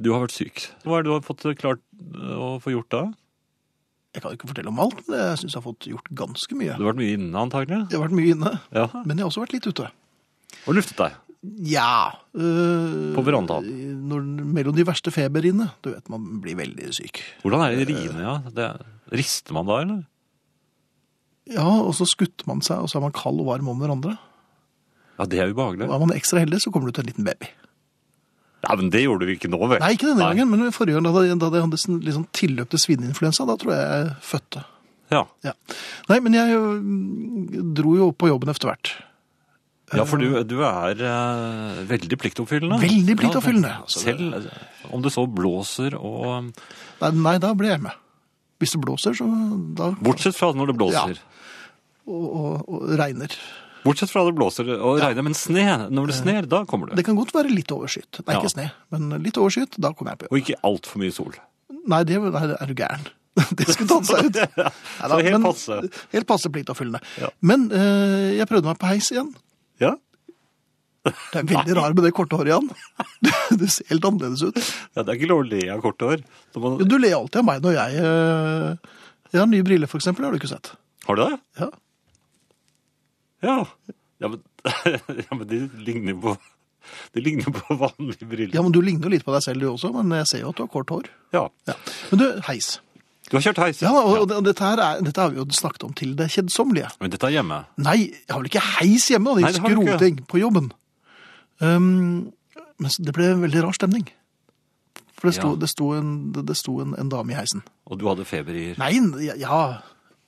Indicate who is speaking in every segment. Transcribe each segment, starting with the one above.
Speaker 1: Du har vært syk. Hva er det du har fått klart å få gjort da?
Speaker 2: Jeg kan ikke fortelle om alt, men jeg syns jeg har fått gjort ganske mye.
Speaker 1: Du har vært mye inne, antagelig.
Speaker 2: Jeg har vært mye inne,
Speaker 1: Ja.
Speaker 2: men jeg har også vært litt ute.
Speaker 1: Og luftet deg.
Speaker 2: Ja. øh,
Speaker 1: På verandaen.
Speaker 2: Når, mellom de verste feberinnene. Du vet, man blir veldig syk.
Speaker 1: Hvordan er det i riene, ja? Det, rister man da, eller?
Speaker 2: Ja, og så skutter man seg, og så er man kald og varm om hverandre.
Speaker 1: Ja, det er ubehagelig.
Speaker 2: Og er man ekstra heldig, så kommer du til en liten baby.
Speaker 1: Nei, men det gjorde du ikke nå, vel?
Speaker 2: Nei, ikke denne
Speaker 1: Nei.
Speaker 2: gangen, men forrige gang da det, da det hadde sånn- litt sånn tilløp til svineinfluensa, da tror jeg jeg fødte.
Speaker 1: Ja,
Speaker 2: Ja. Nei, men jeg øh, dro jo på jobben etter hvert.
Speaker 1: ja for du, du er eh, veldig pliktoppfyllende.
Speaker 2: Veldig pliktoppfyllende.
Speaker 1: Ja, selv eh, om det så blåser og eh,
Speaker 2: Nei, nei, da ble jeg med. Hvis det blåser, så da
Speaker 1: Bortsett fra når det blåser.
Speaker 2: og, og, og regner.
Speaker 1: Bortsett fra det blåser og regner, men sne, når det sner, da kommer
Speaker 2: Det
Speaker 1: det.
Speaker 2: kan godt være litt overskyet. Nei,
Speaker 1: Ja.
Speaker 2: ikke sne, men litt overskyet, da kommer jeg på jobb.
Speaker 1: Og ikke altfor mye sol.
Speaker 2: Nei, det nei, er du gæren. Det skulle tatt seg ut. Nei da,
Speaker 1: Så helt
Speaker 2: men-
Speaker 1: passe.
Speaker 2: Helt passe pliktoppfyllende.
Speaker 1: Ja.
Speaker 2: Men eh, jeg prøvde meg på heis igjen.
Speaker 1: Ja,
Speaker 2: Det er veldig rar med det korte håret igjen. Du, du ser helt annerledes ut.
Speaker 1: ja Det er ikke lov å le av korte hår. Så
Speaker 2: Jo,
Speaker 1: man-
Speaker 2: Du ler alltid av meg når jeg eh, Jeg har nye briller, for eksempel. Det har du ikke sett.
Speaker 1: Har du det?
Speaker 2: Ja.
Speaker 1: Ja. Ja, men, ja, men de ligner jo på De ligner på vanlige briller.
Speaker 2: ja, men du ligner jo litt på deg selv, du også, men jeg ser jo at du har kort hår.
Speaker 1: Ja.
Speaker 2: Ja. Men du, heis.
Speaker 1: Du har kjørt heis?
Speaker 2: Ja, og, og det- dette, her er, dette har vi jo snakket om til det kjedsommelige.
Speaker 1: Men dette er hjemme.
Speaker 2: Nei, jeg har vel ikke heis hjemme, og det
Speaker 1: Nei,
Speaker 2: er
Speaker 1: det har du ikke.
Speaker 2: skroting på jobben. Um, men så- det ble en veldig rar stemning. For det sto,
Speaker 1: Ja.
Speaker 2: det sto, en, det, det sto en, en dame i heisen.
Speaker 1: Og du hadde feber i
Speaker 2: Nei, ja, ja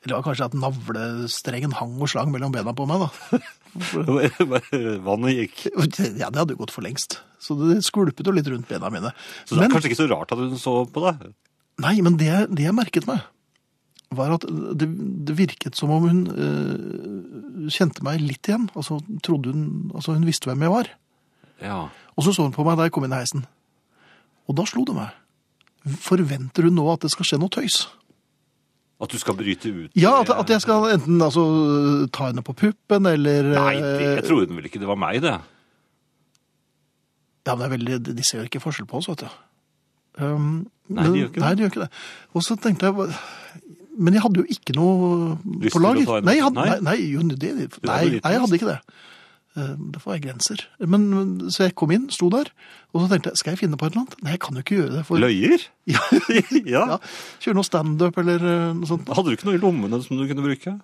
Speaker 2: Eller det var kanskje at navlestrengen hang og slang mellom bena på meg, da.
Speaker 1: Vannet gikk.
Speaker 2: Ja, det hadde jo gått for lengst. Så det skvulpet jo litt rundt bena mine.
Speaker 1: Så det er
Speaker 2: Men-
Speaker 1: kanskje ikke så rart at hun så på deg.
Speaker 2: Nei, men det, det jeg merket meg, var at det, det virket som om hun eh, kjente meg litt igjen. Altså, trodde hun, altså hun visste hvem jeg var.
Speaker 1: Ja.
Speaker 2: Og så så hun på meg da jeg kom inn i heisen. Og da slo det meg. Forventer hun nå at det skal skje noe tøys?
Speaker 1: At du skal bryte ut
Speaker 2: Ja, at, at jeg skal enten altså, ta henne på puppen, eller
Speaker 1: Nei, det,
Speaker 2: eh,
Speaker 1: jeg trodde vel ikke det var meg, det.
Speaker 2: Ja, men det er veldig, de ser jo ikke forskjell på oss, vet du. Um,
Speaker 1: Nei, de gjør ikke det.
Speaker 2: Nei, de gjør ikke det. Og så tenkte jeg, hva- men jeg hadde jo ikke noe
Speaker 1: Lyst til å
Speaker 2: på lager.
Speaker 1: ta en-
Speaker 2: nei, jeg hadde,
Speaker 1: Nei?
Speaker 2: nei, nei, jo, det, nei,
Speaker 1: hadde litt
Speaker 2: nei, jeg hadde ikke det. Eh, Det får være grenser. Men, men, så jeg kom inn, sto der, og så tenkte jeg, skal jeg finne på et eller annet? Nei, jeg kan jo ikke gjøre det. For,
Speaker 1: Løyer?
Speaker 2: Ja,
Speaker 1: ja.
Speaker 2: ja, kjøre noe stand-up eller eh, noe sånt.
Speaker 1: Hadde du ikke noe i lommene som du kunne bruke?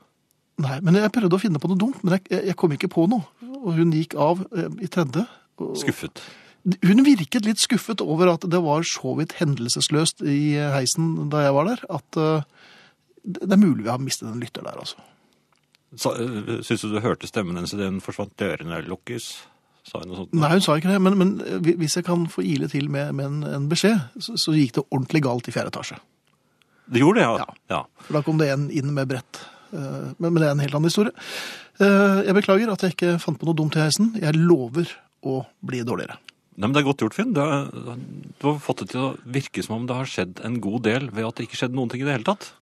Speaker 2: Nei, men jeg prøvde å finne på noe dumt, men jeg, jeg- jeg kom ikke på noe. Og hun gikk av eh, i tredje. og-
Speaker 1: Skuffet.
Speaker 2: Hun virket litt skuffet over at det var så vidt hendelsesløst i eh, heisen da jeg var der, at eh, det det er mulig vi har mistet en lytter der, altså.
Speaker 1: Sa- øh, Syns du du hørte stemmen hennes idet hun forsvant? Dørene lukkes, sa hun noe sånt.
Speaker 2: Nei, hun sa ikke det, men, men hvi- hvis jeg kan få ile til med, med en, en beskjed, så, så gikk det ordentlig galt i fjerde etasje.
Speaker 1: Det gjorde det, ja. ja.
Speaker 2: For da kom det en inn med brett. Eh, Men, men det er en helt annen historie. Eh, Jeg beklager at jeg ikke fant på noe dumt i heisen. Jeg lover å bli dårligere.
Speaker 1: Nei, men Det er godt gjort, Finn. Du har, du har fått det til å virke som om det har skjedd en god del ved at det ikke skjedde noen ting i det hele tatt.